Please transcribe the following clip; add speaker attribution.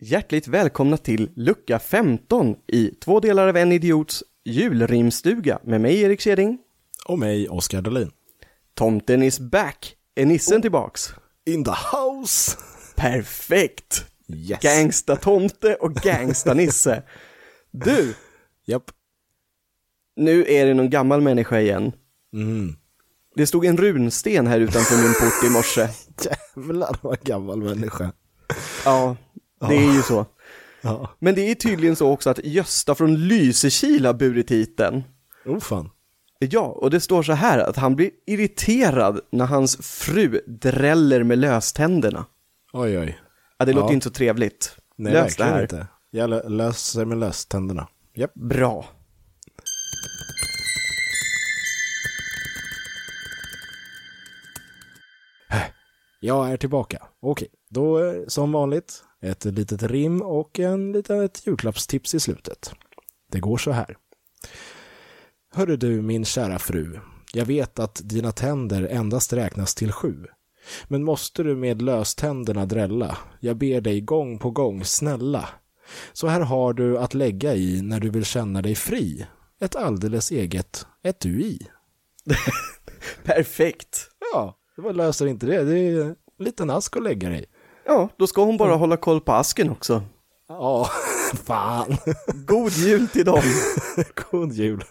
Speaker 1: Hjärtligt välkomna till lucka 15 i Två delar av en idiots julrimstuga med mig Erik Keding.
Speaker 2: Och mig, Oskar Dahlin.
Speaker 1: Tomten is back! Är nissen tillbaks?
Speaker 2: In the house!
Speaker 1: Perfekt!
Speaker 2: Yes.
Speaker 1: Gangsta-tomte och gangsta-nisse. Du,
Speaker 2: Japp.
Speaker 1: nu är det någon gammal människa igen. Det stod en runsten här utanför min port i morse.
Speaker 2: Jävlar vad gammal människa.
Speaker 1: Ja, det är ju så.
Speaker 2: Ja.
Speaker 1: Men det är tydligen så också att Gösta från Lysekil har burit hit den.
Speaker 2: Oh fan.
Speaker 1: Ja, och det står så här att han blir irriterad när hans fru dräller med löständerna.
Speaker 2: Oj oj.
Speaker 1: Ja, det
Speaker 2: Ja.
Speaker 1: låter inte så trevligt.
Speaker 2: Nej,
Speaker 1: Lös det
Speaker 2: verkligen
Speaker 1: här.
Speaker 2: inte. Jag lö- löser med löständerna. Japp.
Speaker 1: Bra.
Speaker 2: Jag är tillbaka. Okej, då eh, som vanligt ett litet rim och en liten ett julklappstips i slutet. Det går så här. Hörru du, min kära fru. Jag vet att dina tänder endast räknas till sju. Men måste du med löständerna drälla? Jag ber dig gång på gång, snälla. Så här har du att lägga i när du vill känna dig fri. Ett alldeles eget etui.
Speaker 1: Perfekt.
Speaker 2: Ja, det var löser inte det. Det är en liten ask att lägga dig i.
Speaker 1: Ja, då ska hon bara
Speaker 2: Mm.
Speaker 1: hålla koll på asken också.
Speaker 2: Ja, fan.
Speaker 1: God jul till dem.
Speaker 2: God jul.